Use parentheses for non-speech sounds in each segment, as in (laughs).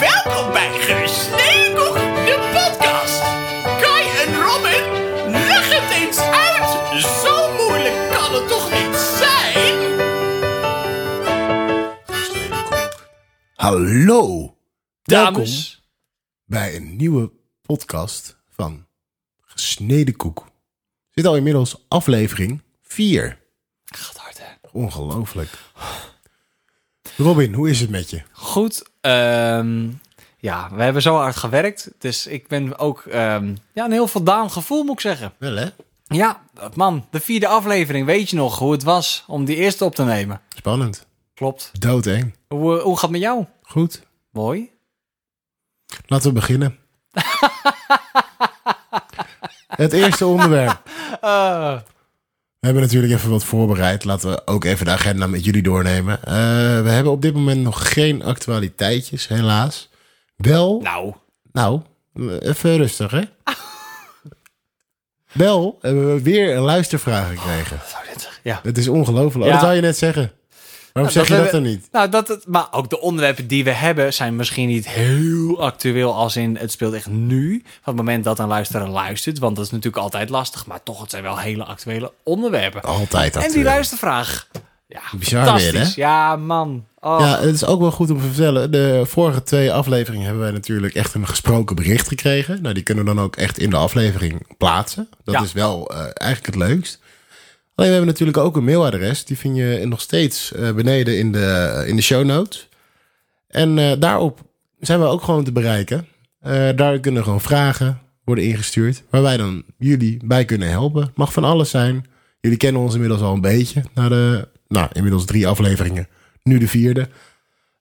Welkom bij Gestekel, de podcast. Kai en Robin, leg het eens uit. Zo moeilijk kan het toch niet zijn? Hallo Dames. bij een nieuwe podcast van Gesneden Koek. Zit al inmiddels aflevering 4. Gaat hard, hè? Ongelooflijk. Robin, hoe is het met je? Goed. ehm, ja, we hebben zo hard gewerkt. Dus ik ben ook ehm, ja, een heel voldaan gevoel, moet ik zeggen. Wel hè? Ja, man, de vierde aflevering. Weet je nog hoe het was om die eerste op te nemen? Spannend. Klopt. Doodeng. Hoe, eh, hoe gaat het met jou? Goed. Mooi. Laten we (laughs) beginnen. het eerste onderwerp. Eh, We hebben natuurlijk even wat voorbereid. Laten we ook even de agenda met jullie doornemen. Eh, we hebben op dit moment nog geen actualiteitjes, helaas. Wel nou, Nou, even rustig, (laughs) hè? Wel hebben we weer een luistervraag gekregen. zo dit. Ja. Het is ongelooflijk. Oh, Ja. dat zou je net zeggen. Waarom zeg je dat dan niet? Nou, dat het, maar ook de onderwerpen die we hebben zijn misschien niet heel actueel als in het speelt echt nu. Van het moment dat een luisteraar luistert, want dat is natuurlijk altijd lastig. Maar toch, het zijn wel hele actuele onderwerpen. Altijd dat. En die luistervraag. Ja, Bizar fantastisch. weer, hè? Ja, man. Oh, Ja, het is ook wel goed om te vertellen. De vorige twee afleveringen hebben wij natuurlijk echt een gesproken bericht gekregen. Nou, die kunnen we dan ook echt in de aflevering plaatsen. Dat Ja. is wel eh, eigenlijk het leukst. Alleen we hebben natuurlijk ook een mailadres. Die vind je nog steeds eh, beneden in de, in de show notes. En eh, daarop zijn we ook gewoon te bereiken. Eh, daar kunnen gewoon vragen worden ingestuurd. Waar wij dan jullie bij kunnen helpen. Mag van alles zijn. Jullie kennen ons inmiddels al een beetje. Na de, nou, inmiddels drie afleveringen. Nu de vierde.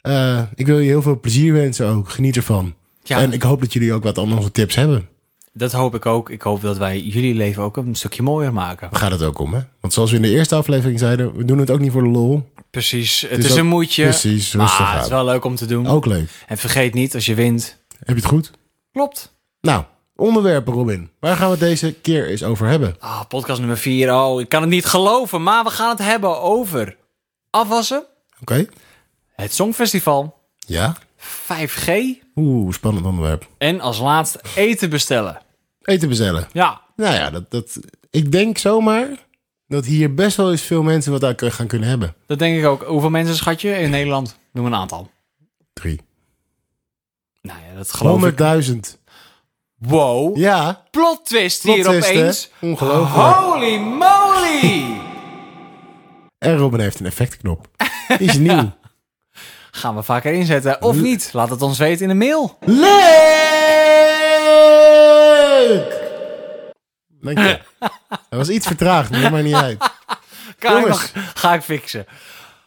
Eh, ik wil je heel veel plezier wensen ook. Geniet ervan. Ja. En ik hoop dat jullie ook wat aan onze tips hebben. Dat hoop ik ook. Ik hoop dat wij jullie leven ook een stukje mooier maken. Daar gaat het ook om, hè? Want zoals we in de eerste aflevering zeiden, we doen het ook niet voor de lol. Precies. Het, is is, ook- een moedje. precies, rustig Maar het is houden. Oh. wel leuk om te doen. Ook leuk. En vergeet niet, als je wint. Heb je het goed? Klopt. Nou, onderwerpen, Robin. Waar gaan we het deze keer eens over hebben? Ah, podcast nummer 4. Oh, ik kan het niet geloven. Maar we gaan het hebben over afwassen. Oké? Het Songfestival. Ja? 5G. Oeh, spannend onderwerp. En als laatste eten bestellen. Eten bestellen. Ja. Nou ja, dat, dat, ik denk zomaar dat hier best wel eens veel mensen wat aan gaan kunnen hebben. Dat denk ik ook. Hoeveel mensen schat je in Nederland? Noem een aantal. Drie. Nou ja, dat geloof ik. 100.000. Wow. Ja. plot twist Plot hier twist, hè? opeens. Ongelooflijk. Holy moly! En Robin heeft een effectknop. Die is nieuw. Gaan we vaker inzetten of niet? Laat het ons weten in de mail. Leuk! Dank je. Hij was iets vertraagd, maar dat maakt niet uit. Kan ik Jongens. nog, ga ik fixen.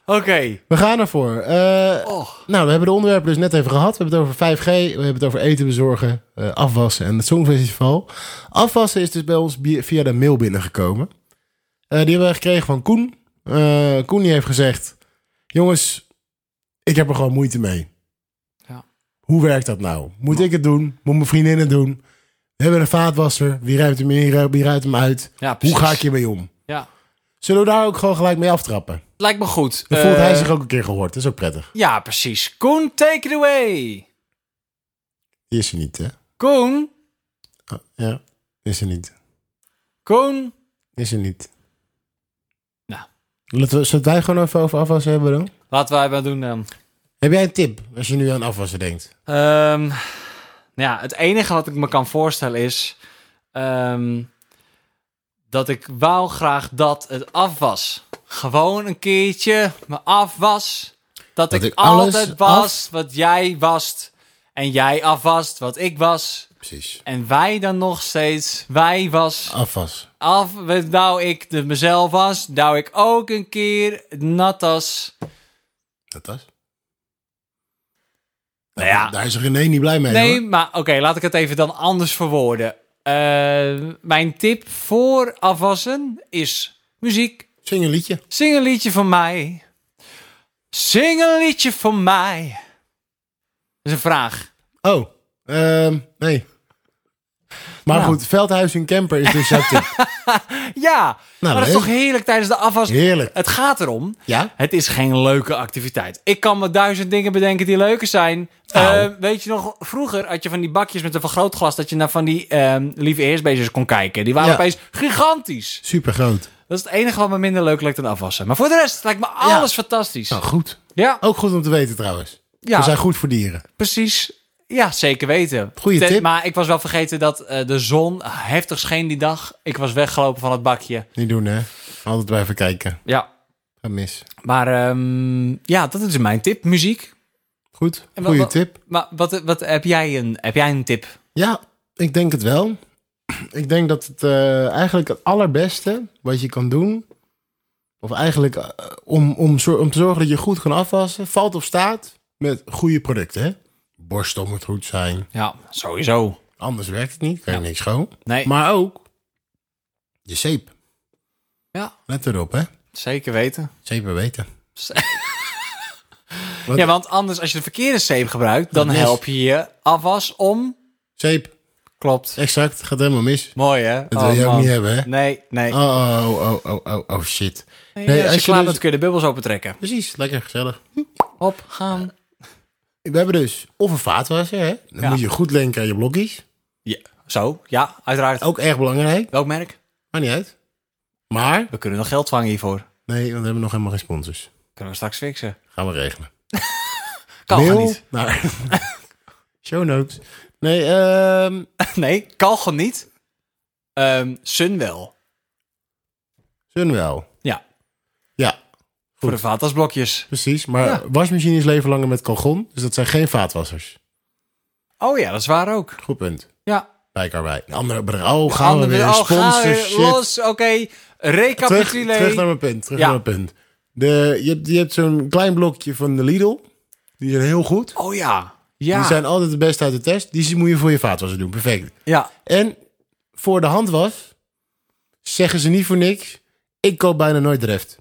Oké. We gaan ervoor. Eh, Oh. Nou, we hebben de onderwerpen dus net even gehad. We hebben het over 5G, we hebben het over eten bezorgen, eh, afwassen en het Songfestival. Afwassen is dus bij ons bi- via de mail binnengekomen. Eh, die hebben we gekregen van Koen. Eh, Koen die heeft gezegd, jongens, ik heb er gewoon moeite mee. Ja. Hoe werkt dat nou? Moet ik het doen? Moet mijn vriendin het doen? We hebben een vaatwasser. Wie ruimt hem in? Wie ruimt hem uit? Ja, Hoe precies. ga ik hiermee om? Ja. Zullen we daar ook gewoon gelijk mee aftrappen? Lijkt me goed. Dan voelt Eh, hij zich ook een keer gehoord. Dat is ook prettig. Ja, precies. Koen, take it away. Die is er niet, hè? Koen, Ah, Ja, is er niet. Koen. Is er niet. Nou. Laten we, zullen wij gewoon even over afwassen hebben dan? Laten wij maar doen. ehm. Heb jij een tip als je nu aan afwassen denkt? Ehm, nou ja, het enige wat ik me kan voorstellen is ehm, dat ik wou graag dat het af was. Gewoon een keertje me af was. Dat, Dat ik, ik alles altijd was wat jij wast. En jij afwast wat ik was. Precies. En wij dan nog steeds. Wij was Afwas. af. Nou ik de mezelf was. Nou ik ook een keer natas. Dat was. Nou ja. Daar is René niet blij mee Nee, hoor. maar oké, laat ik het even dan anders verwoorden. Eh, mijn tip voor afwassen is muziek. Zing een liedje. Zing een liedje van mij. Zing een liedje van mij. Dat is een vraag. Oh, ehm, nee. Maar Nou. goed, Veldhuis in camper is dus jouw (laughs) tip. Ja, maar dat is Nou, leuk. toch heerlijk tijdens de afwas. Heerlijk. Het gaat erom. Ja? Het is geen leuke activiteit. Ik kan me duizend dingen bedenken die leuker zijn. Nou. Eh, weet je nog, vroeger had je van die bakjes met een vergrootglas... dat je naar van die ehm lieve eerstbeestjes kon kijken. Die waren Ja. opeens gigantisch. Super groot. Dat is het enige wat me minder leuk lijkt dan afwassen. Maar voor de rest lijkt me alles fantastisch. Nou, goed. Ja, Ook goed om te weten trouwens. Ja. We zijn goed voor dieren. precies. Ja, zeker weten. Goeie Ten- tip. Maar ik was wel vergeten dat eh, de zon heftig scheen die dag. Ik was weggelopen van het bakje. Niet doen, hè? Altijd maar even kijken. Ja, Gaat mis. maar ehm, ja, dat is mijn tip. Muziek. Goed. En wat- Goeie wat- tip. Maar wat, wat heb, jij een, heb jij een tip? Ja, ik denk het wel. Ik denk dat het eh, eigenlijk het allerbeste wat je kan doen... of eigenlijk eh, om, om, zor- om te zorgen dat je goed kan afwassen... valt of staat met goede producten, hè? Borstel moet goed zijn. Ja, sowieso. Anders werkt het niet. Kan je Ja. niks schoon. Nee, Maar ook je zeep. Ja. Let erop, hè? zeker weten. Zeepen weten. Ja, want anders als je de verkeerde zeep gebruikt, dan Yes. help je je afwas om. Zeep, Klopt. exact. Gaat helemaal mis. Mooi hè? Oh, Dat wil je ook niet hebben, hè? Nee, nee. Oh, oh, oh, oh, oh, oh, shit. nee, Nee, als, als je je klaar dus- bent, kun je de bubbels opentrekken. Precies, lekker, gezellig. Op, gaan. We hebben dus of een vaatwasser, hè? Dan Ja. moet je goed lenken aan je blokjes. Ja. Zo, ja, uiteraard. Ook erg belangrijk. Welk merk? Maakt niet uit. Maar, We kunnen nog geld vangen hiervoor. nee, Kunnen want we hebben nog helemaal geen sponsors. we straks fixen. Gaan we regelen. Kan Mail niet. (laughs) naar- Show notes. Nee, ehm Nee, Kalgon niet. Ehm Sun wel. Sunwell. Ja, Ja, voor de vaatwasblokjes. precies. Maar Ja. wasmachines leven langer met kalgon. Dus dat zijn geen vaatwassers. Oh ja, dat is waar ook. Goed punt. Ja. Bijkaarbij. Een andere bedrijf. Oh, gaan we weer. Oh, gaan we weer Sponsors, shit. los. Oké, terug, recapitulé. terug naar mijn punt. Terug Ja. naar mijn punt. De, je hebt, je hebt zo'n klein blokje van de Lidl. Die zijn heel goed. Oh ja. Ja. Die zijn altijd het beste uit de test. Die moet je voor je vaatwasser doen. Perfect. ja. En voor de handwas zeggen ze niet voor niks. Ik koop bijna nooit Dreft.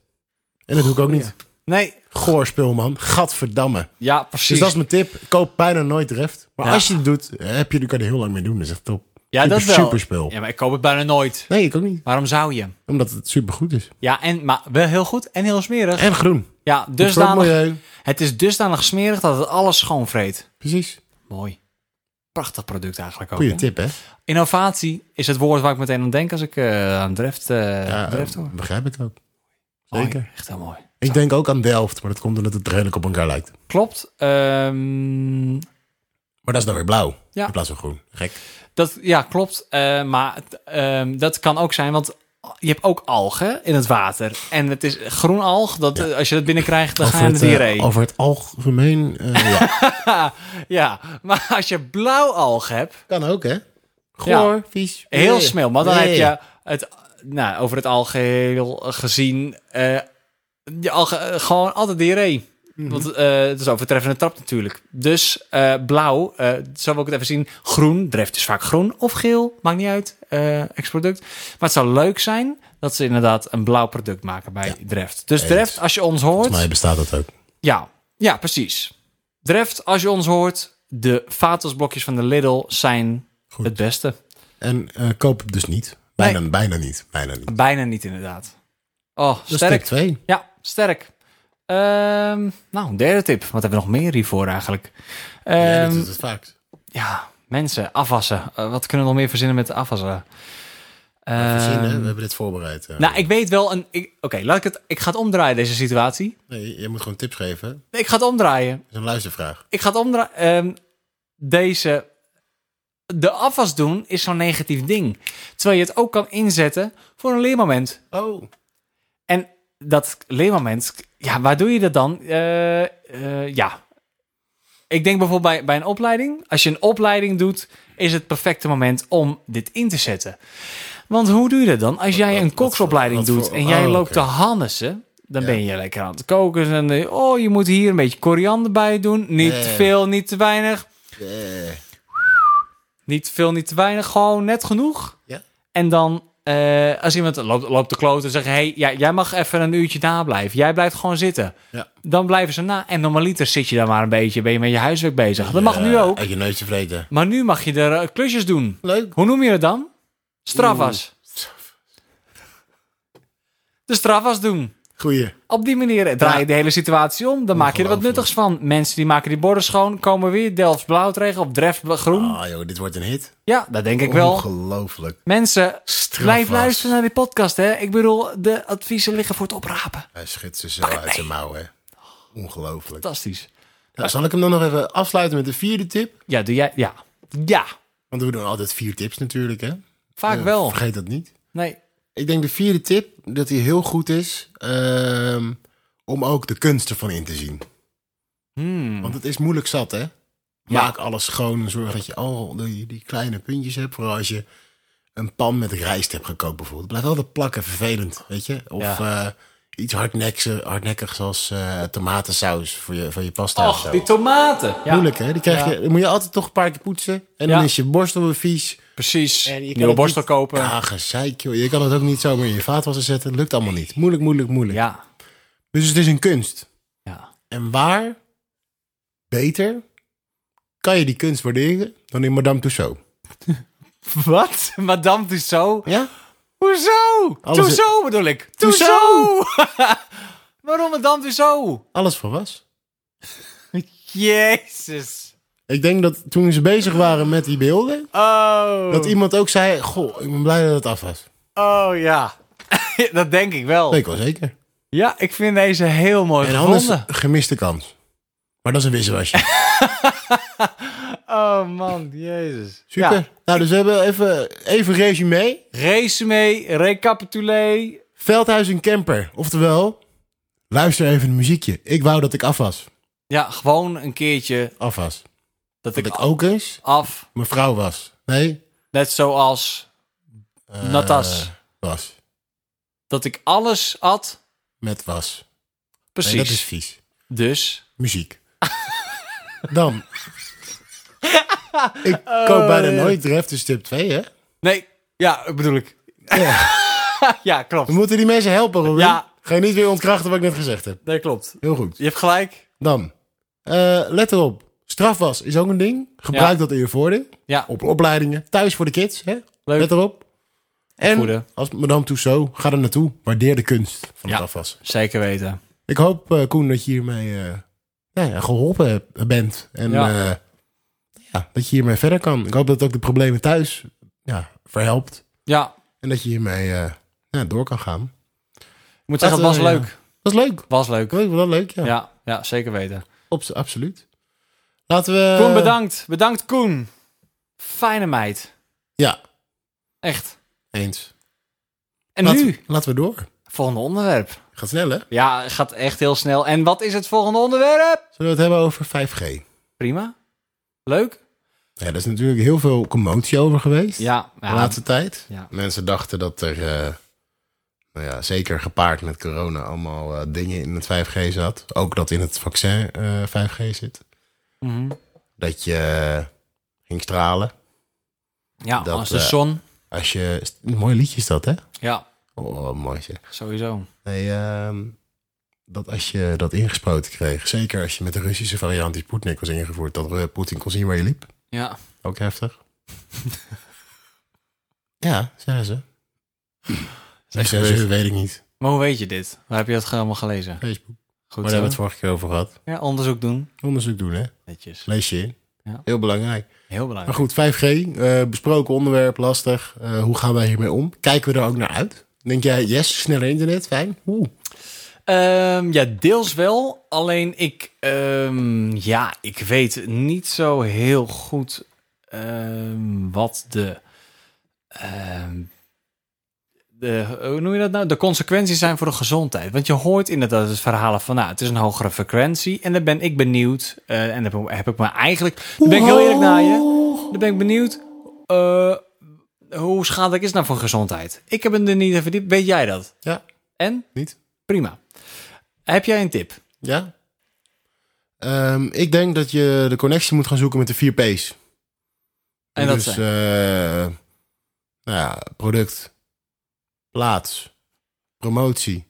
En dat doe ik ook niet. Nee. Goor spul, man. Gadverdamme. Ja, precies. Dus dat is mijn tip. Koop bijna nooit Dreft. Maar Ja. als je het doet, heb je, dan kan je er heel lang mee doen. Dat is echt top. ja, super, dat wel. Super spul. Ja, maar ik koop het bijna nooit. Nee, ik ook niet. Waarom zou je? Omdat het supergoed is. Ja, en, maar wel heel goed en heel smerig. En groen. Ja, Dus dan dusdanig, milieu. het is dusdanig smerig dat het alles schoonvreet. Precies. Mooi. Prachtig product eigenlijk ook. Goeie hè? tip, hè? Innovatie is het woord waar ik meteen aan denk als ik eh, aan Dreft, eh Ja, Dreft eh, hoor. begrijp ik ook. Mooi, zeker. echt heel mooi. Ik denk ook aan Delft, maar dat komt omdat het redelijk op elkaar lijkt. Klopt. Ehm, Maar dat is dan weer blauw Ja. in plaats van groen. Gek. dat, ja, klopt. Eh, maar het, ehm, dat kan ook zijn, want je hebt ook algen in het water. En het is groen alg, dat, eh, als je dat binnenkrijgt, dan ga je aan de het, eh, diarree. over het algemeen. (laughs) eh, ja. Ja, (laughs) maar als je blauw alg hebt, Kan ook, hè? Goor, Ja. vies. eh, heel Nee. smil. Maar dan Nee. heb je het, nou, over het algeheel gezien, eh, je alge, eh, gewoon altijd diarree. Mhm. Want eh, het is overtreffende trap natuurlijk. Dus eh, blauw, eh zo wil ik het even zien. Groen, dreft is vaak groen of geel, maakt niet uit, eh ex-product. Maar het zou leuk zijn dat ze inderdaad een blauw product maken bij dreft. Dus Eens. dreft, als je ons hoort... Volgens mij bestaat dat ook. Ja, ja, precies. Dreft, als je ons hoort, de vaatwasblokjes van de Lidl zijn Goed. het beste. En eh, koop het dus niet. Bijna, bijna niet. Bijna niet. Bijna niet inderdaad. Oh, Dat is sterk. tip 2. Ja, sterk. Ehm, nou, derde tip. Wat hebben we nog meer hiervoor eigenlijk? Ehm, Ja, dat is het vaakst. ja, mensen, afwassen. Eh, wat kunnen we nog meer verzinnen met afwassen? Ehm, Gezien, hè? We hebben dit voorbereid. eh. nou, ik weet wel een... ik- Oké, laat ik het... Ik ga het omdraaien, deze situatie. Nee, je moet gewoon tips geven. hè? Dat Nee, Ik ga het omdraaien. is een luistervraag. Ik ga het omdraaien. Ehm, deze. De afwas doen is zo'n negatief ding. Terwijl je het ook kan inzetten voor een leermoment. Oh. En dat leermoment, ja, waar doe je dat dan? Eh, eh, ja. Ik denk bijvoorbeeld bij, bij een opleiding. Als je een opleiding doet, is het perfecte moment om dit in te zetten. Want hoe doe je dat dan? Als jij wat- een wat voor- koksopleiding wat voor- doet en jij oh, loopt oké. te hannesen, dan ben je lekker aan het koken. En eh, oh, je moet hier een beetje koriander bij doen. Niet Ja, ja, te ja. veel, niet te weinig. Eh, Niet te veel, niet te weinig. Gewoon net genoeg. Ja. En dan eh, Eh, als iemand loopt, loopt de kloot en zegt: hey, ja, jij mag even een uurtje nablijven. Jij blijft gewoon zitten. Ja. Dan blijven ze na. En normaliter zit je daar maar een beetje. Ben je met je huiswerk bezig. Dat mag nu ook. Uit je neus te Eh, vreten. Maar nu mag je er eh, klusjes doen. Leuk. Hoe noem je het dan? Strafas. De strafas doen. Goeie. Op die manier draai je de hele situatie om. Dan maak je er wat Ongelooflijk. nuttigs van. Mensen die maken die borden schoon, komen weer Delfts blauw tegen of Dreft groen. Ah joh, dit wordt een hit. Ja, dat denk ik wel. Ongelooflijk. Mensen, Strafwas. blijf luisteren naar die podcast, hè. Ik bedoel, de adviezen liggen voor het oprapen. Hij schiet ze Ah, zo uit zijn mouwen. Ongelooflijk. Fantastisch. Nou, zal ik hem dan nog even afsluiten met de vierde tip? Ja, doe jij... Ja. Ja. Want we doen altijd vier tips natuurlijk, hè? Vaak Eh, wel. Vergeet dat niet. Nee. Ik denk de vierde tip, dat die heel goed is ehm, om ook de kunst ervan in te zien. Hmm. Want het is moeilijk zat, hè? Maak alles schoon en zorg dat je al die, die kleine puntjes hebt. Vooral als je een pan met rijst hebt gekookt bijvoorbeeld. Blijft altijd plakken, vervelend, weet je? Of eh, iets hardnekse- hardnekkigs als eh, tomatensaus voor je, voor je pasta of zo. Och, die tomaten. Ja, Moeilijk, hè? Die, krijg Ja. je, die moet je altijd toch een paar keer poetsen. En Ja. dan is je borstel weer vies. precies. En je kan Nieuwe het borstel niet- kopen. Ja, gezeik, joh. Je kan het ook niet zomaar in je vaatwasser zetten. Lukt allemaal niet. Moeilijk, moeilijk, moeilijk. Ja. Dus het is een kunst. Ja. En waar beter kan je die kunst waarderen dan in Madame Tussauds? (laughs) Wat? Madame Tussaud? Ja? Hoezo? Alles- Tussaud bedoel ik. Tussaud! Tussaud! (laughs) Waarom Madame Tussaud? Alles voor was. (laughs) Jezus. Ik denk dat toen ze bezig waren met die beelden, Oh. dat iemand ook zei: Goh, ik ben blij dat het af was. Oh ja. (laughs) dat denk ik wel. Weet ik wel zeker. Ja, ik vind deze heel mooi En gevonden. anders gemiste kans. Maar dat is een (laughs) wisselwasje. Oh man, jezus. Super. Ja. Nou, dus we hebben even, even resume. Resume, recapitulé. Veldhuis en Camper. Oftewel, luister even een muziekje. Ik wou dat ik af was. Ja, gewoon een keertje Af was. dat Dat ik ik ook eens af, mijn vrouw was. Nee, net zoals eh, Natas. was. Dat ik alles at. Met was. Precies. Nee, dat is vies. Dus. muziek. (laughs) Dan. Ik Oh, koop bijna nooit Dreftus tip 2, hè? Nee, ja, bedoel ik. Ja. (laughs) ja, We klopt. moeten die mensen helpen, Robin. Ja. Ga je niet weer ontkrachten wat ik net gezegd heb. Nee, klopt. Heel goed. Je hebt gelijk. Dan. eh, let erop. Strafwas is ook een ding. Gebruik Ja. dat in je voordeel. Ja, Op opleidingen. Thuis voor de kids. Hè? Leuk. Let erop. En Goede. als Madame Tussaud, ga er naartoe. Waardeer de kunst van het Ja. afwas. zeker weten. Ik hoop, eh, Koen, dat je hiermee eh, nou ja, geholpen heb- bent. En Ja. eh, ja, dat je hiermee verder kan. Ik hoop dat het ook de problemen thuis ja, verhelpt. Ja, En dat je hiermee eh, ja, door kan gaan. ik moet zeggen, het was Laten we- leuk. Dat is leuk. Was leuk. Ik vond dat leuk, ja. Ja, ja, zeker weten. Op- absoluut. Laten we... Koen, bedankt. Bedankt, Koen. Fijne meid. Ja, Echt. eens. En laten, nu, Laten we door. volgende onderwerp. Gaat snel, hè? Ja, het gaat echt heel snel. En wat is het volgende onderwerp? Zullen we het hebben over 5G? Prima. Leuk. Ja, er is natuurlijk heel veel commotie over geweest. Ja, de ja, laatste tijd. Ja. Mensen dachten dat er, eh, nou ja, zeker gepaard met corona, allemaal eh, dingen in het 5G zat. Ook dat in het vaccin eh, 5G zit. Mhm. Dat je eh, ging stralen. ja Dat, als de eh, zon. Als je. Een mooi liedje is dat, hè? Ja, Oh, wat mooi zeg. sowieso. Nee, ehm, dat als je dat ingespoten kreeg, zeker als je met de Russische variant die Sputnik was ingevoerd, dat eh, Poetin kon zien waar je liep. Ja. Ook heftig. (laughs) ja, zeggen ze. Zeggen ze, weet ik niet. Maar hoe weet je dit? Waar heb je dat ge- allemaal gelezen? Facebook. Goed Maar daar hebben zo. we het vorige keer over gehad. Ja, onderzoek doen. Onderzoek doen, hè? Netjes. Lees je in. Ja. Heel belangrijk. Heel Maar belangrijk. goed, 5G, eh, besproken onderwerp, lastig. Eh, hoe gaan wij hiermee om? Kijken we er ook naar uit? Denk jij, yes, sneller internet, fijn. Oeh. Ehm, ja, deels wel. Alleen ik, ehm, ja, ik weet niet zo heel goed ehm, wat de, ehm, de, hoe noem je dat nou? De consequenties zijn voor de gezondheid. Want je hoort inderdaad het verhalen van, nou, het is een hogere frequentie. En dan ben ik benieuwd. eh, en dan heb ik me eigenlijk, dan ben ik heel eerlijk naar je. Dan ben ik benieuwd, eh, hoe schadelijk is het nou voor gezondheid? Ik heb het er niet in verdiept. Weet jij dat? Ja, En? niet? Prima. Heb jij een tip? Ja. Ehm, ik denk dat je de connectie moet gaan zoeken met de 4 P's. En dat dus, zijn? eh, nou ja, product, plaats, promotie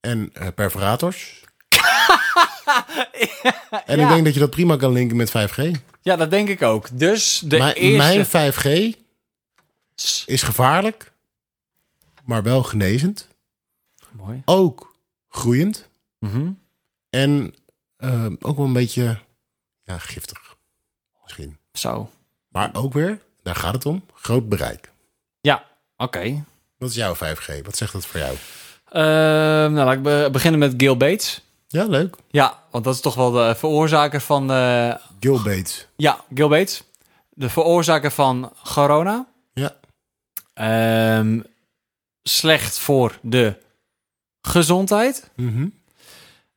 en eh, (laughs) perforators. en ik Ja. denk dat je dat prima kan linken met 5G. Ja, dat denk ik ook. Dus de Mijn- Mijn eerste... 5G S- is gevaarlijk, maar wel genezend. Mooi. Ook groeiend Mhm. en eh, ook wel een beetje ja, giftig misschien. Zo. Maar ook weer, daar gaat het om, groot bereik. Ja, oké. Wat is jouw 5G? Wat zegt dat voor jou? Ehm, nou, laat ik be- beginnen met Gil Bates. Ja, leuk. Ja, want dat is toch wel de veroorzaker van... eh, Gil Bates. ja, Gil Bates. De veroorzaker van corona. Ja. Ehm, slecht voor de gezondheid. Mhm.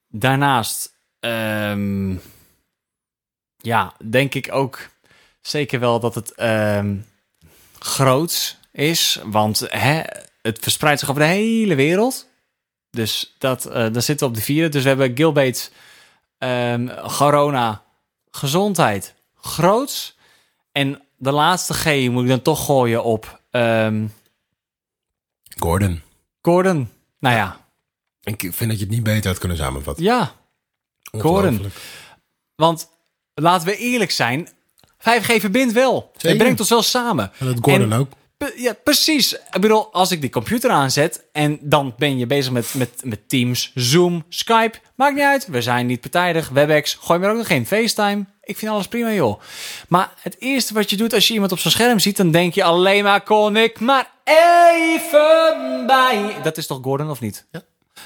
Daarnaast, ehm, ja, denk ik ook zeker wel dat het ehm groot is. Want hè, het verspreidt zich over de hele wereld. Dus dat, eh daar zitten we op de vierde. Dus we hebben Gilbait, corona, gezondheid, groots. En de laatste G moet ik dan toch gooien op ehm, Gordon. Gordon. Nou ja, Ik vind dat je het niet beter had kunnen samenvatten. ja. Gordon. Ongelooflijk. Want laten we eerlijk zijn, 5G verbindt wel. Zeker. Het brengt ons wel samen. En dat Gordon En- ook. Pe- Ja, precies. Ik bedoel, als ik die computer aanzet en dan ben je bezig met, met, met Teams, Zoom, Skype. Maakt niet uit, we zijn niet partijdig. WebEx, gooi maar ook nog geen FaceTime. Ik vind alles prima, joh. Maar het eerste wat je doet als je iemand op zijn scherm ziet, dan denk je alleen maar, kon ik maar even bij. Dat is toch Gordon, of niet? Ja.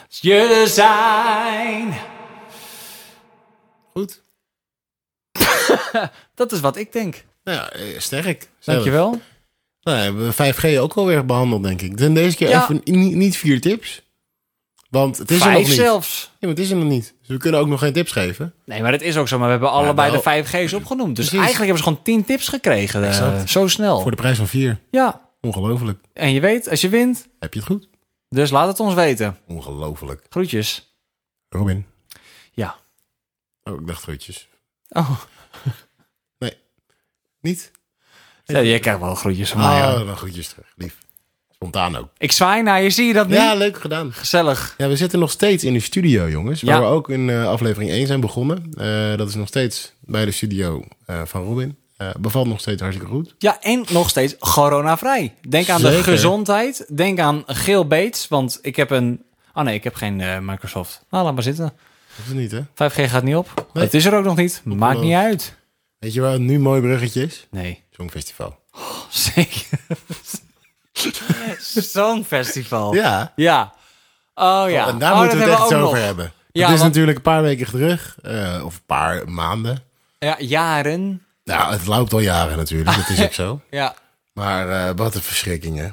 Je zijn. Goed. Dat is wat ik denk. Nou ja, eh, sterk. Zelf. Dankjewel. Nou, hebben we 5G ook alweer behandeld, denk ik. Dan deze keer Ja. even ni- niet vier tips. Want het is er nog Vijf niet. zelfs. Ja, maar het is er nog niet. Dus we kunnen ook nog geen tips geven. Nee, maar dat is ook zo. Maar we hebben allebei wel- de 5G's opgenoemd. Dus Precies. eigenlijk hebben ze gewoon 10 tips gekregen. eh, Exact. zo snel. Voor de prijs van vier. Ja, Ongelooflijk. en je weet, als je wint, Heb je het goed? dus laat het ons weten. Ongelooflijk. Groetjes. Robin. Ja. Oh, ik dacht groetjes. Oh, Niet? ja, jij krijgt wel groetjes van mij. hoor. Ah, dan groetjes terug. Lief. Spontaan ook. Ik zwaai naar je, zie je dat nu? Ja, leuk gedaan. Gezellig. Ja, we zitten nog steeds in de studio, jongens. Waar Ja. we ook in eh, aflevering 1 zijn begonnen. Eh, dat is nog steeds bij de studio eh, van Robin. Eh, bevalt nog steeds hartstikke goed. Ja, en nog steeds coronavrij. Denk aan de Zeker. gezondheid. Denk aan Geel Bates, want ik heb een... Oh nee, ik heb geen eh, Microsoft. Nou, laat maar zitten. Dat is niet, hè? 5G gaat niet op. Nee. Het is er ook nog niet. Maakt niet uit. Weet je waar het nu een mooi bruggetje is? Nee. Songfestival. (laughs) Zeker. Zo'n festival. Ja. Ja. Oh ja. En daar Oh, moeten we dat het echt ook zo over nog. hebben. Ja, het is want- natuurlijk een paar weken terug. eh, of een paar maanden. Ja, jaren. Nou, het loopt al jaren natuurlijk. Dat is ook (laughs) zo. Ja. Maar eh, wat een verschrikking, hè?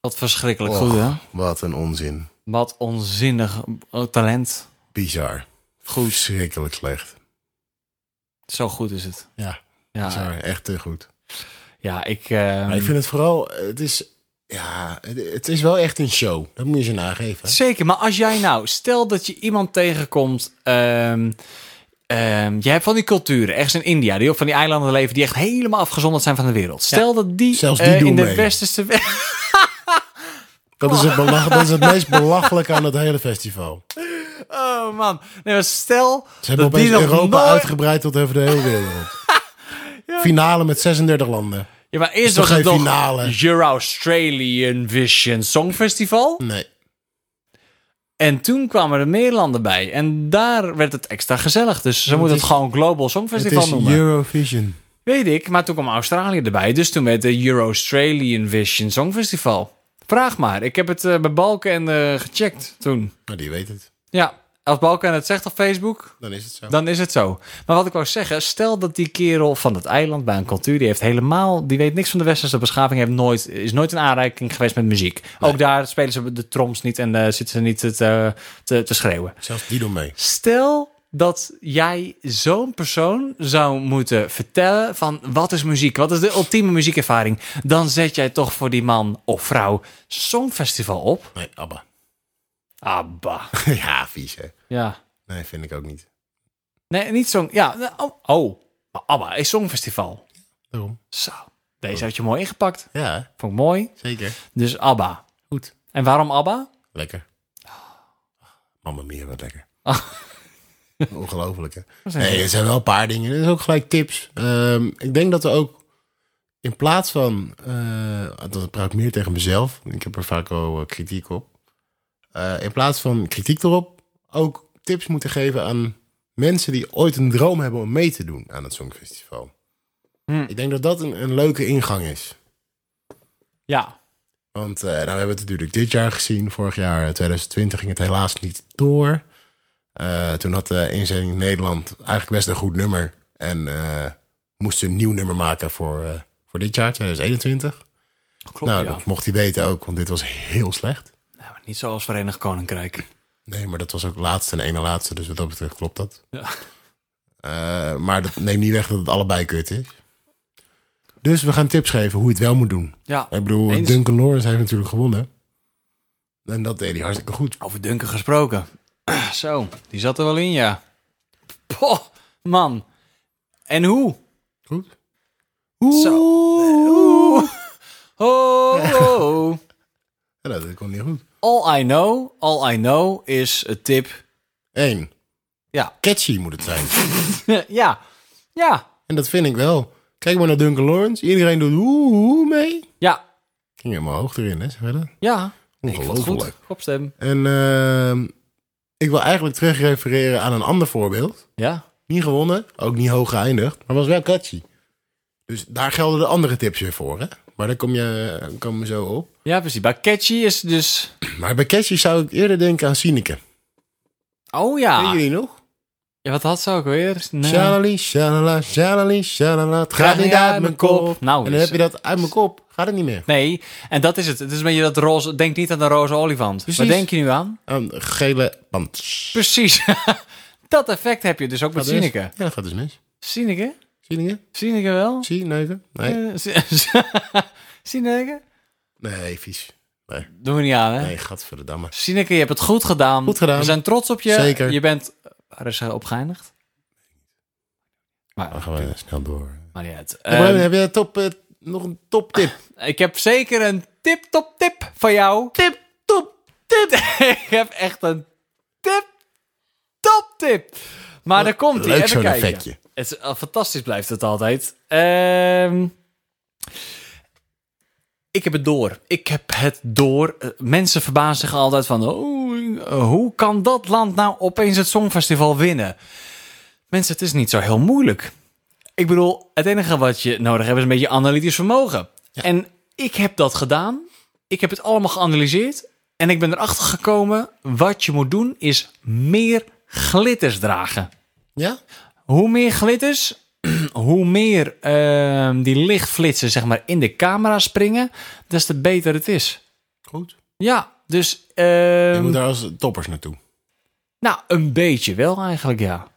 Wat verschrikkelijk Och, goed, hè? Wat een onzin. Wat onzinnig eh, talent. Bizar. Goed. Verschrikkelijk slecht. Zo goed is het. Ja, Ja, bizar. Echt te goed. ja ik... eh, Maar ik vind het vooral, het is, ja, het, het is wel echt een show. Dat moet je ze nageven. Zeker, maar als jij nou... Stel dat je iemand tegenkomt... ehm, ehm, je hebt van die culturen, ergens in India, die op van die eilanden leven, die echt helemaal afgezonderd zijn van de wereld. Stel dat die, Zelfs die eh, doen in de mee. westerse wereld. Dat is het, belach, dat is het meest belachelijke aan het hele festival. (laughs) Oh man. Nee, maar stel Ze hebben dat die opeens nog Europa nooit... uitgebreid tot over de hele (laughs) wereld. Finale met 36 landen. Ja, maar eerst toch was het geen nog finale? Your Australian Vision Songfestival. Nee. En toen kwamen er meer landen bij. En daar werd het extra gezellig. Dus ze moeten het is- gewoon Global Het Songfestival is noemen. Eurovision. Weet ik, maar toen kwam Australië erbij. Dus toen werd de Euro Australian Vision Songfestival. Vraag maar. Ik heb het eh, bij Balken en eh, gecheckt toen. Nou, die weet het. Ja, als Balken het zegt op Facebook, Dan is het zo. dan is het zo. Maar wat ik wou zeggen, stel dat die kerel van het eiland bij een cultuur, die heeft helemaal, die weet niks van de westerse beschaving, heeft nooit, is nooit in aanraking geweest met muziek. Ook daar spelen ze de troms niet en eh, zitten ze niet te, eh, te, te schreeuwen. Zelfs die doen mee. Stel dat jij zo'n persoon zou moeten vertellen van wat is muziek, wat is de ultieme muziekervaring, dan zet jij toch voor die man of vrouw songfestival op. Nee, Abba. Abba. ja, vies hè. (laughs) Ja. Nee, vind ik ook niet. Nee, niet song. Ja, nou, oh, oh. Maar Abba is songfestival. Daarom. Zo. Deze had je mooi ingepakt. Ja, Vond ik mooi. zeker. Dus ABBA. Goed. En waarom ABBA? Lekker. Mamma mia, wat lekker. Ah. (laughs) Ongelooflijk, hè? Dat is Nee, er zijn wel een paar dingen. Er is ook gelijk tips. Ehm, ik denk dat we ook in plaats van... eh dat praat ik meer tegen mezelf. Ik heb er vaak wel eh, kritiek op. Eh, in plaats van kritiek erop... ook tips moeten geven aan mensen die ooit een droom hebben... om mee te doen aan het Songfestival. Hm. Ik denk dat dat een, een leuke ingang is. Ja, Want eh, nou, we hebben het natuurlijk dit jaar gezien. Vorig jaar, eh, 2020, ging het helaas niet door. Eh, toen had de inzending Nederland eigenlijk best een goed nummer. En eh, moest een nieuw nummer maken voor, eh, voor dit jaar, 2021. klopt. nou, ja. dat mocht hij weten ook, want dit was heel slecht. Nou, maar niet zoals Verenigd Koninkrijk. Nee, maar dat was ook laatste en ene laatste, dus wat dat betreft klopt dat. (laughs) Ja. Eh, maar dat neemt niet weg dat het allebei kut is. Dus we gaan tips geven hoe je het wel moet doen. Ja, Ik bedoel, Eens. Duncan Lawrence heeft natuurlijk gewonnen. En dat deed hij hartstikke goed. over Duncan gesproken. (clears throat) Zo, die zat er wel in, ja. Poh, man. En hoe? Goed. Zo. Oeh. Oh, oh, oh. Ja, dat komt niet goed. (laughs) All I know, all I know is een tip. Eén. Ja. Catchy moet het zijn. (laughs) ja, ja, en dat vind ik wel. Kijk maar naar Duncan Lawrence. Iedereen doet oeh oeh mee. ja, Ging helemaal hoog erin, hè? Zeg je dat? ja. Ik vond het Ongelooflijk. goed. Kopstem. En ehm, ik wil eigenlijk terugrefereren aan een ander voorbeeld. Ja. Niet gewonnen, ook niet hoog geëindigd, maar was wel catchy. Dus daar gelden de andere tips weer voor, hè? Maar daar kom je kom je zo op. ja, precies. Bij catchy is dus... Maar bij catchy zou ik eerder denken aan Sineke. Oh Ken ja. jullie nog? ja wat had ze ook weer? Nee. Shalali, shalala, shalali, shalala. Het gaat niet uit mijn kop. dus. Nou, en dan is- heb je dat uit mijn kop. Gaat het niet meer. Nee, en dat is het. Het is een beetje dat roze... Denk niet aan de roze olifant. Waar Precies. denk je nu aan? Een gele pants. Precies. (laughs) dat effect heb je dus ook met Dat is- Sineke. Ja, dat gaat dus mis. Sineke? Sineke? Sineke wel? (laughs) Zie, neuken? Nee. Eh, Sin- Sineke? Nee, vies. Nee, Doen we niet aan, hè? nee gadverdamme. Sineke, je hebt het goed gedaan. Goed gedaan. We zijn trots op je. Zeker. Je bent... Waar is hij op geëindigd? Dan Maar, gaan we snel door. maar niet uit. Ja, maar Ehm, heb je top, eh, nog een toptip? ik heb zeker een tip top tip van jou. Tip top tip. (laughs) ik heb echt een tip top tip. Maar daar komt hij. Leuk Even zo'n kijken. effectje. Het is, ah, fantastisch blijft het altijd. Ehm, ik heb het door. Ik heb het door. Eh, mensen verbazen zich altijd van... Oh, eh, hoe kan dat land nou opeens het Songfestival winnen? Mensen, het is niet zo heel moeilijk. Ik bedoel, het enige wat je nodig hebt is een beetje analytisch vermogen. En ik heb dat gedaan. Ik heb het allemaal geanalyseerd. En ik ben erachter gekomen... wat je moet doen is meer glitters dragen. Ja? Hoe meer glitters, (clears throat) hoe meer ehm, die lichtflitsen zeg maar, in de camera springen, des te beter het is. Goed. Ja, dus Je ehm, moet daar als toppers naartoe. nou, een beetje wel eigenlijk, ja.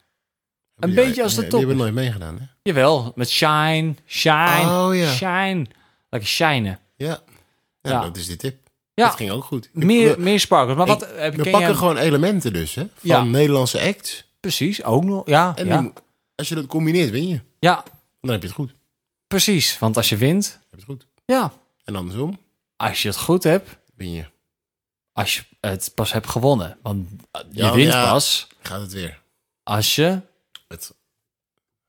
Een beetje als de Die top. hebben nooit meegedaan, hè? Jawel, met shine, shine, Oh, ja. shine. Lekker shinen. Ja. Ja, Ja. dat is die tip. Ja. Dat ging ook goed. Ik- Meer, we- meer sparkles. Maar wat eh, ik- heb we ken pakken jij- gewoon elementen dus, hè? Van Ja. Nederlandse acts. Precies, ook nog. Ja, En ja. die- als je dat combineert, win je. ja, Dan heb je het goed. Dan precies. Want als je wint, heb je het goed. ja, En andersom, als je het goed hebt, win je. als je het pas hebt gewonnen. Want eh, je Ja, wint ja. pas Gaat het weer. als je het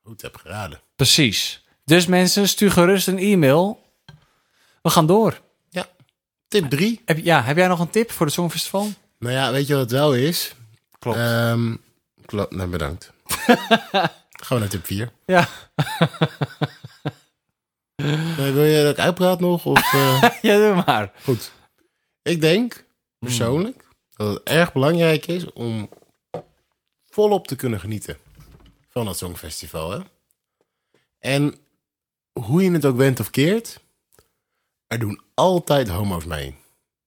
goed heb geraden. Precies. Dus mensen, stuur gerust een e-mail. We gaan door. Ja. Tip 3. Heb, ja, heb jij nog een tip voor het Songfestival? (laughs) Nou ja, weet je wat het wel is? Klopt. Ehm, klo- nou, (laughs) bedankt. Gaan we naar tip 4. Ja. Eh, wil je dat ik uitpraat nog? Of, eh, ja, doe maar. (laughs) goed. Hmm. Ik denk persoonlijk dat het erg belangrijk is om volop te kunnen genieten van het Songfestival. Hè? En hoe je het ook went of keert, er doen altijd homo's mee.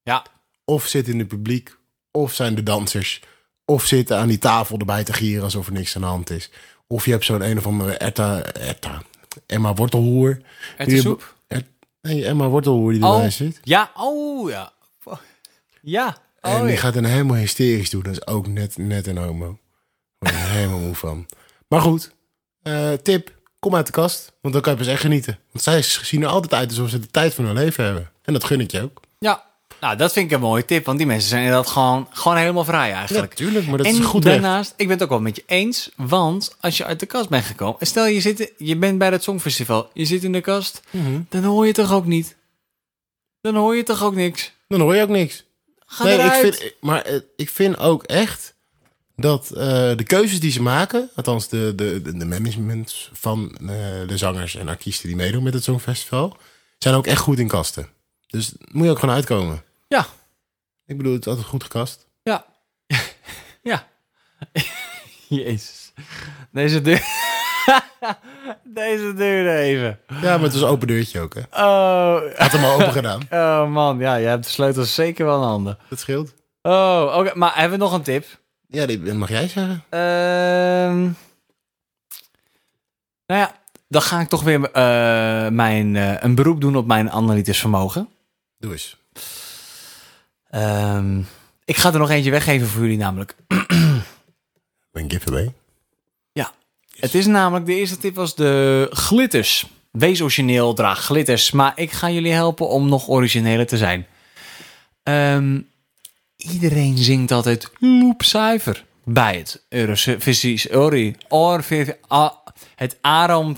Ja. of zitten in het publiek, of zijn de dansers, of zitten aan die tafel erbij te gieren alsof er niks aan de hand is. Of je hebt zo'n een of andere Etta, Etta, Emma Wortelhoer. Die- soep? Et- nee, Emma Wortelhoer die Oh. erbij zit. Ja, oh ja. Ja. en Oh, die ja. gaat een helemaal hysterisch doen. Dat is ook net, net een homo. Daar word ik (laughs) helemaal moe van. Maar goed, eh, tip, kom uit de kast. Want dan kan je pas echt genieten. Want zij zien er altijd uit alsof ze de tijd van hun leven hebben. En dat gun ik je ook. Ja. Nou, dat vind ik een mooie tip, want die mensen zijn inderdaad gewoon, gewoon helemaal vrij eigenlijk. Natuurlijk, maar dat is en goed recht. daarnaast, ik ben het ook wel met je eens, want als je uit de kast bent gekomen... en Stel, je, zit, je bent bij dat Songfestival, je zit in de kast, Mhm. dan hoor je toch ook niet? Dan hoor je toch ook niks? Dan hoor je ook niks. Ga nee, ik eruit. vind, maar eh, ik vind ook echt dat eh, de keuzes die ze maken, althans de, de, de, de managements van eh, de zangers en artiesten die meedoen met het Songfestival, zijn ook echt goed in kasten. Dus moet je ook gewoon uitkomen. Ja, Ik bedoel, het is altijd goed gekast. ja. (laughs) ja. Jezus. Deze duurde... (laughs) Deze duurde even. Ja, maar het was een open deurtje ook, hè. Oh, Had hem al (laughs) open gedaan. oh man, ja, jij hebt de sleutels zeker wel in handen. Dat scheelt. Oh, oké, maar hebben we nog een tip? Ja, die mag jij zeggen. Ehm, nou ja, dan ga ik toch weer eh, mijn, eh, een beroep doen op mijn analytisch vermogen. Doe eens. Ehm, ik ga er nog eentje weggeven voor jullie namelijk. Een giveaway. Het is namelijk, de eerste tip was de glitters. Wees origineel, draag glitters. Maar ik ga jullie helpen om nog origineler te zijn. Ehm, iedereen zingt altijd loopcijfer bij het Eurovisie. Sorry, ORV, ah, het Arom...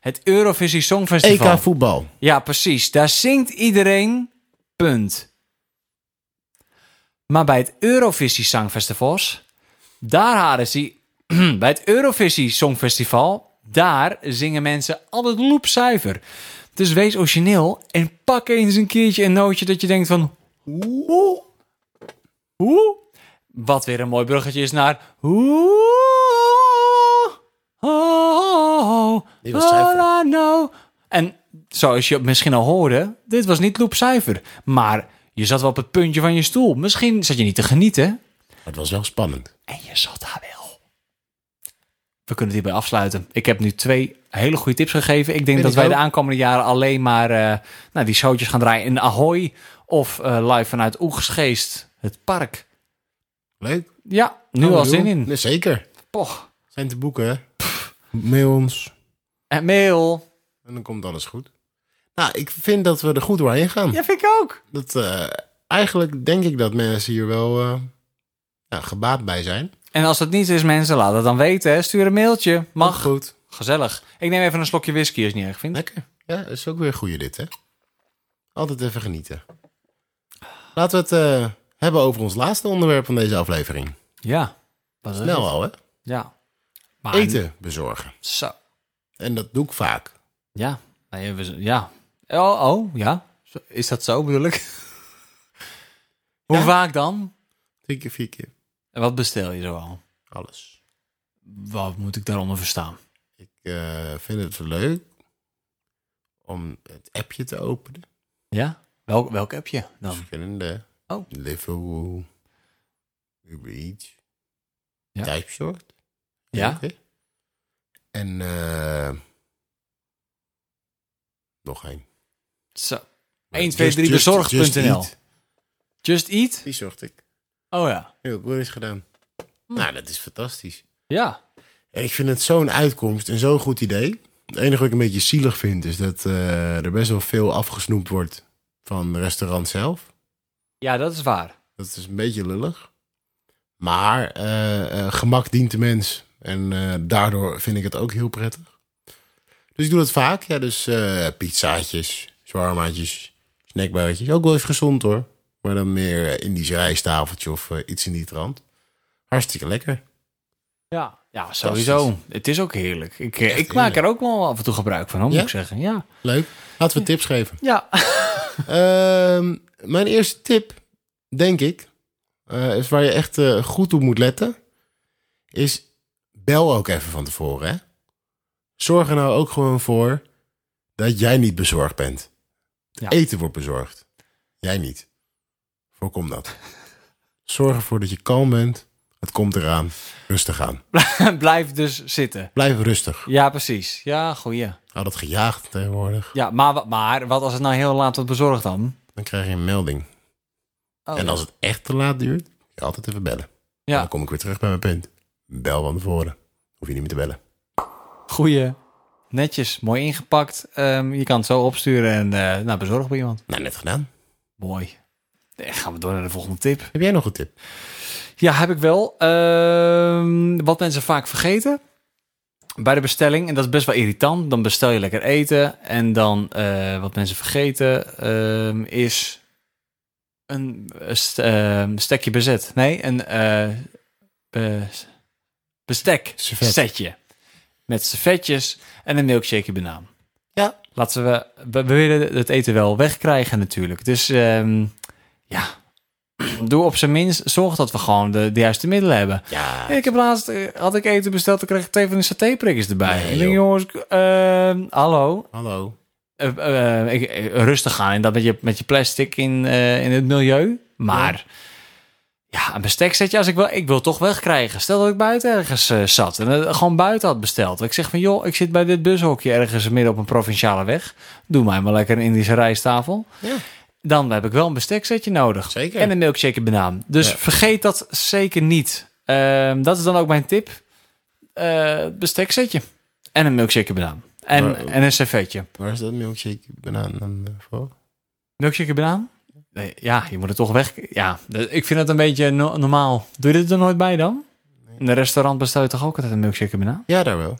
Het Eurovisie EK Songfestival. voetbal. Ja, precies. Daar zingt iedereen. Punt. Maar bij het Eurovisie Songfestivals, daar hadden ze. (clears throat) bij het Eurovisie Songfestival, daar zingen mensen altijd loepcijfer. Dus wees origineel en pak eens een keertje een nootje dat je denkt van. Hoe? Hoe? Wat weer een mooi bruggetje is naar. Hoe? Oh, oh, Die was zuiver. all I know. En zoals je misschien al hoorde, dit was niet loepcijfer. Maar je zat wel op het puntje van je stoel. Misschien zat je niet te genieten. Het was wel spannend. En je zat daar wel. We kunnen het hierbij afsluiten. Ik heb nu twee hele goede tips gegeven. Ik denk ik dat wij de ook. aankomende jaren alleen maar eh, nou, die showtjes gaan draaien in Ahoy. Of eh, live vanuit Oegsgeest, het park. Leuk. Ja, nu Gaan we al zin doen. in. Nee, zeker. Poch. Zijn te boeken, hè. Mail ons. En mail. En dan komt alles goed. Nou, ik vind dat we er goed doorheen gaan. Ja, vind ik ook. Dat, eh, eigenlijk denk ik dat mensen hier wel eh, ja, gebaat bij zijn. En als dat niet is, mensen, laat het dan weten. hè. Stuur een mailtje. Mag. Ook goed. Gezellig. Ik neem even een slokje whisky als je het niet erg vindt. Lekker. Ja, dat is ook weer een goede dit, hè. Altijd even genieten. Laten we het eh, hebben over ons laatste onderwerp van deze aflevering. Ja. Wat is Snel al, hè. Ja. Maar, Eten bezorgen. Zo. En dat doe ik vaak. Ja. Nou ja, we- ja. Oh, oh, ja. Zo- Is dat zo bedoel ik? (laughs) Hoe Ja. vaak dan? Drie keer, vier keer. En wat bestel je zo al? Alles. Wat moet ik daaronder verstaan? Ik eh, vind het leuk om het appje te openen. Ja? Welk, welk appje dan? Verschillende. Oh. Liverpool. Uber Eats. Ja. Typesort. Ja. Ook, hè? En eh nog één. Zo. Maar 1, 2, Just- 3, Just- Just bezorg.nl. Eat, Just eat? Die zocht ik. Oh ja. Heel goed is gedaan. Nou, dat is fantastisch. Ja. En ik vind het zo'n uitkomst en zo'n goed idee. Het enige wat ik een beetje zielig vind is dat eh, er best wel veel afgesnoept wordt van het restaurant zelf. Ja, dat is waar. Dat is een beetje lullig. Maar eh, eh, gemak dient de mens. En eh, daardoor vind ik het ook heel prettig. Dus ik doe dat vaak. Ja, dus eh, pizzaatjes, zwarmaatjes, snackbuitjes. Ook wel eens gezond hoor. Maar dan meer eh, Indisch rijstafeltje of eh, iets in die trant. Hartstikke lekker. Ja. Ja, sowieso. Het is ook heerlijk. Ik, eh, ik maak er ook wel af en toe gebruik van, hoor, moet Ja? ik zeggen. Ja. Leuk. Laten we tips geven. Ja. (laughs) Ehm, mijn eerste tip, denk ik, eh, is waar je echt eh, goed op moet letten, is bel ook even van tevoren. Hè? Zorg er nou ook gewoon voor dat jij niet bezorgd bent. Ja. Eten wordt bezorgd. Jij niet. Voorkom dat. Zorg ervoor dat je kalm bent. Het komt eraan. Rustig aan. Blijf dus zitten. Blijf rustig. Ja, precies. Ja, goeie. Hou dat gejaagd tegenwoordig. Ja, maar, wa- maar wat als het nou heel laat wordt bezorgd dan? Dan krijg je een melding. Oh, En als het echt te laat duurt, kun je altijd even bellen. Ja. Dan kom ik weer terug bij mijn punt. Bel van tevoren. Hoef je niet meer te bellen. Goeie netjes, mooi ingepakt. Ehm, je kan het zo opsturen en eh nou, bezorg bij iemand. Nou, net gedaan. Mooi. Eh, gaan we door naar de volgende tip. Heb jij nog een tip? Ja, heb ik wel. Ehm, wat mensen vaak vergeten bij de bestelling, en dat is best wel irritant, dan bestel je lekker eten. En dan eh, wat mensen vergeten ehm, is een eh, st- ehm, stekje bezet. Nee, een eh, be- bestek Servet. setje. Met servetjes en een milkshake banaan. Ja. Laten we, we, we willen het eten wel wegkrijgen natuurlijk. Dus ehm, ja, doe op zijn minst, zorg dat we gewoon de, de juiste middelen hebben. Ja. Ik heb laatst, eh, had ik eten besteld, dan kreeg ik twee van die satéprikjes erbij. Nee, ik joh. denk, jongens, k- ehm, hallo, Hallo. Eh, eh, ik, eh, rustig aan. En dat met je, met je plastic in, eh, in het milieu. Maar ja, een bestek zet je als ik wil. Ik wil toch wegkrijgen. Stel dat ik buiten ergens eh, zat en het gewoon buiten had besteld. Ik zeg van joh, ik zit bij dit bushokje ergens midden op een provinciale weg. Doe mij maar lekker een Indische rijsttafel. Ja. Dan heb ik wel een besteksetje nodig. Zeker. En een milkshake en banaan. Dus Ja. vergeet dat zeker niet. Ehm, dat is dan ook mijn tip. Eh besteksetje. En een milkshake en banaan. En, Maar- en een servetje. Waar is dat milkshake banaan dan eh, voor? Milkshake en banaan? Nee, ja, je moet het toch weg. Ja, dat- ik vind het een beetje no- normaal. Doe je dit er nooit bij dan? In een restaurant bestel je toch ook altijd een milkshake en banaan? Ja, daar wel.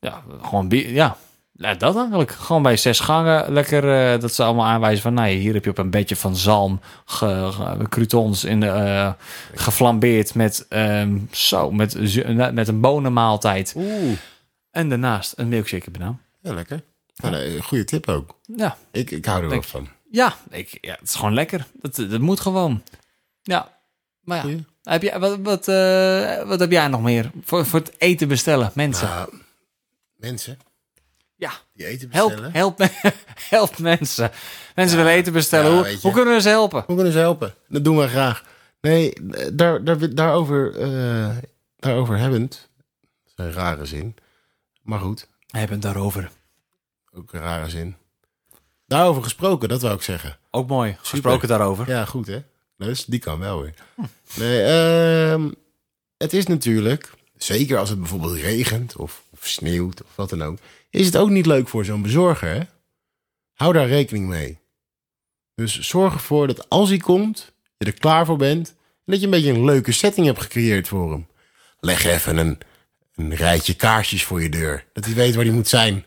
Ja, gewoon bier. Ja. Ja, dat eigenlijk. Gewoon bij zes gangen lekker eh, dat ze allemaal aanwijzen van... Nou, ja, hier heb je op een bedje van zalm, ge, ge- croutons in de, eh, geflambeerd met, ehm, zo, met, zu- met een bonenmaaltijd. Oeh. En daarnaast een milkshake en banaan. Ja, lekker. Nou, nee, goede tip ook. Ja, Ik, ik hou er wel Dank van. ja, ik, ja het is gewoon lekker. Dat, dat moet gewoon. Ja, maar ja. Goeie. Heb jij, wat, wat, eh, wat heb jij nog meer? Voor, voor het eten bestellen, mensen. Ah, mensen ja, die eten bestellen. help, help, me- (laughs) help mensen. Mensen willen eten bestellen. ja, hoe, weet je. hoe kunnen we ze helpen? Hoe kunnen ze helpen? Dat doen we graag. Nee, daar, daar, daarover, eh daarover hebbend. Dat is een rare zin. Maar goed, Hebben het daarover. ook een rare zin. Daarover gesproken, dat wou ik zeggen. Ook mooi. Gesproken daarover. Ja, goed hè. Dus die kan wel weer. Nee, ehm, het is natuurlijk, zeker als het bijvoorbeeld regent of, of sneeuwt of wat dan ook, is het ook niet leuk voor zo'n bezorger. Hè? Hou daar rekening mee. Dus zorg ervoor dat als hij komt, je er klaar voor bent en dat je een beetje een leuke setting hebt gecreëerd voor hem. Leg even een, een rijtje kaarsjes voor je deur, dat hij weet waar hij moet zijn.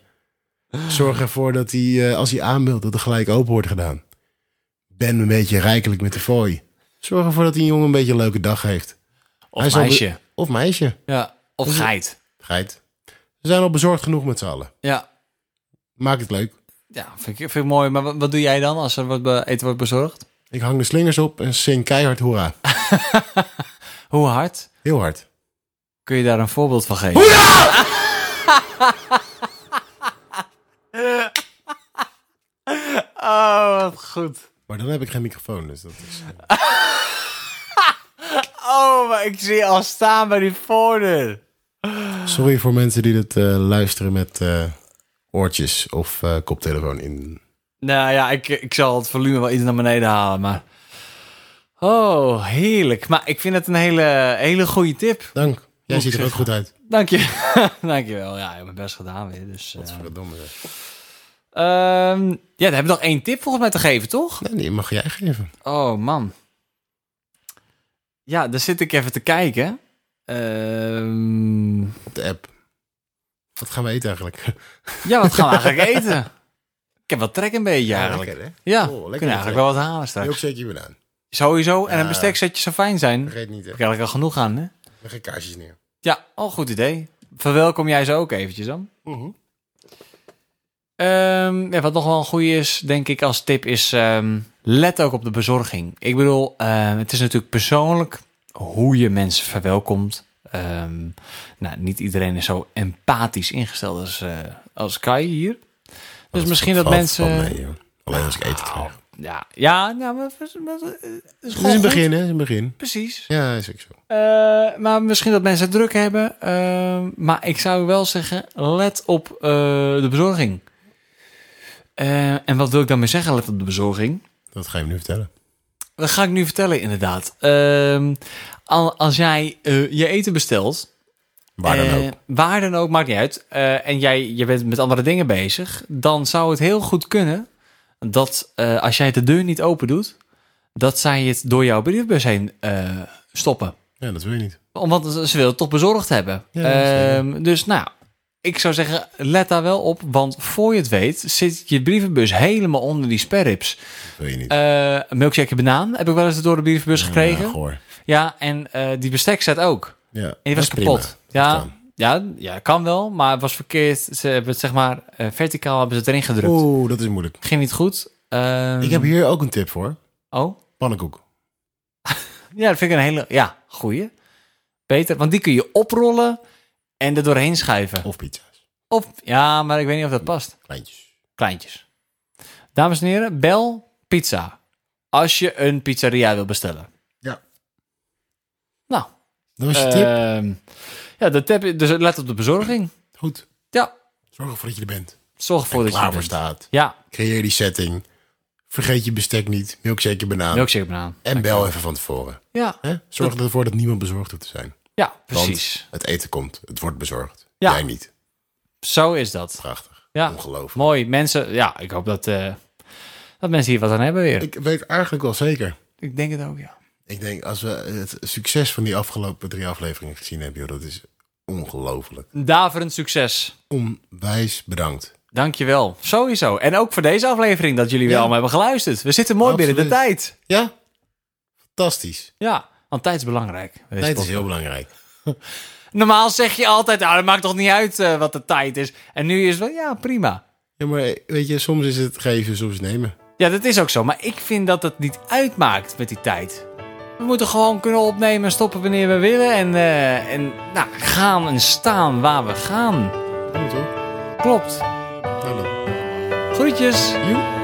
Zorg ervoor dat hij, eh, als hij aanbelt, dat er gelijk open wordt gedaan ben een beetje rijkelijk met de fooi. Zorg ervoor dat die jongen een beetje een leuke dag heeft. Of Hij is al be- meisje. Of meisje. Ja. Of geit. Geit. Ze zijn al bezorgd genoeg met z'n allen. Ja. Maak het leuk. Ja, vind ik, vind ik mooi. Maar wat, wat doe jij dan als er wat be- eten wordt bezorgd? Ik hang de slingers op en zing keihard hoera. Hoe hard? Heel hard. Kun je daar een voorbeeld van geven? (laughs) oh, wat goed. Maar dan heb ik geen microfoon, dus dat is... Oh, maar ik zie je al staan bij die voordeur. eh, Sorry voor mensen die dit eh, luisteren met eh, oortjes of eh, koptelefoon in. Nou ja, ik, ik zal het volume wel iets naar beneden halen, maar... Oh, heerlijk. Maar ik vind het een hele, hele goede tip. Dank. Jij Moet ziet ik er ook goed uit. Dank je. (laughs) Dank je wel. Ja, ik heb mijn best gedaan weer. Dus, eh. Verdomme. zeg. Ehm, ja, dan hebben we nog één tip volgens mij te geven, toch? Nee, die mag jij geven. Oh man. Ja, daar zit ik even te kijken. Ehm, Op de app. Wat gaan we eten eigenlijk? ja, wat gaan we (laughs) eigenlijk eten? Ik heb wel trek een beetje eigenlijk. Lekker, hè? Ja, Oh, lekker we kunnen eigenlijk wel wat halen straks. Milkshakeje banaan. Sowieso, en een Ja. bestek zetje zou fijn zijn. Daar Vergeet niet, hè? krijg ik al genoeg aan, hè? Leg geen kaarsjes neer. Ja, al goed idee. Verwelkom jij ze ook eventjes dan? Mhm. Ehm, ja, wat nog wel een goede is, denk ik, als tip is... ehm, let ook op de bezorging. Ik bedoel, ehm, het is natuurlijk persoonlijk hoe je mensen verwelkomt. Ehm, nou, niet iedereen is zo empathisch ingesteld als, eh, als Kai hier. Dus misschien dat Valt mensen... van mij, joh. Alleen als ik eten krijg. ja, ja, nou, maar, maar- maar- Dus het is Het is gewoon een goed. begin, hè? Het is een begin. Precies. Ja, is ook zo. Eh, maar misschien dat mensen het druk hebben. Ehm, maar ik zou wel zeggen, let op eh, de bezorging. Eh, en wat wil ik daarmee zeggen, let op de bezorging? Dat ga je me nu vertellen. Dat ga ik nu vertellen, inderdaad. Ehm, al- als jij eh, je eten bestelt Waar dan Eh, ook. Waar dan ook, maakt niet uit. Eh, en jij je bent met andere dingen bezig. Dan zou het heel goed kunnen dat eh, als jij de deur niet open doet, dat zij het door jouw brievenbus heen eh, stoppen. Ja, dat wil je niet. Om- Want ze ze wil het toch bezorgd hebben. Ja, dat is, eh, Ehm, dus nou, ik zou zeggen, let daar wel op. Want voor je het weet, zit je brievenbus helemaal onder die sperrips. Dat wil je niet. Eh milkshake en banaan heb ik wel eens door de brievenbus gekregen. Ja, Ja, goor. en eh, die bestek staat ook. Ja, dat En is die was prima. kapot. Dat Ja, kan. ja, ja, kan wel, maar het was verkeerd. Ze hebben het zeg maar eh, verticaal hebben ze het erin gedrukt. Oeh, dat is moeilijk. Ging niet goed. Ehm, Ik heb hier ook een tip voor. Oh, Pannenkoek. ja, dat vind ik een hele... Ja, goeie. Beter, want die kun je oprollen en er doorheen schuiven. Of pizza's. Of, ja, maar ik weet niet of dat past. Kleintjes. Kleintjes. Dames en heren, bel pizza. Als je een pizzeria wil bestellen. Ja. Nou, Dat was je tip. ehm, ja, de tip, dus let op de bezorging. Goed. Ja, Zorg ervoor dat je er bent. zorg ervoor dat je... Klaar er voor bent. staat. Ja, Creëer die setting. Vergeet je bestek niet. Milkshake je banaan. milkshake banaan. en bel even van tevoren. Ja, Hè? Zorg ervoor dat niemand bezorgd hoeft te zijn. ja, Want precies. het eten komt. Het wordt bezorgd. Ja. Jij niet. Zo is dat. Prachtig. Ja, Ongelooflijk. mooi. Mensen, ja, ik hoop dat, eh, dat mensen hier wat aan hebben weer. Ik, Ik weet eigenlijk wel zeker. denk het ook, ja. Ik denk, als we het succes van die afgelopen drie afleveringen gezien hebben, joh, dat is ongelooflijk. Daverend succes. Onwijs bedankt. Dankjewel. Sowieso. En ook voor deze aflevering dat jullie weer Ja. allemaal hebben geluisterd. We zitten mooi binnen de Absoluut. tijd. Ja? Fantastisch. Ja, want tijd is belangrijk. bij deze Tijd is podcast. heel belangrijk. Normaal zeg je altijd, nou, dat maakt toch niet uit eh, wat de tijd is. En nu is het wel, ja, prima. Ja, maar eh, weet je, soms is het geven, soms nemen. Ja, dat is ook zo. Maar ik vind dat het niet uitmaakt met die tijd. We moeten gewoon kunnen opnemen en stoppen wanneer we willen. En, eh, en nou, gaan en staan waar we gaan. Goed hoor. Klopt. Nou dan. Groetjes. Joe. Oh, Ah!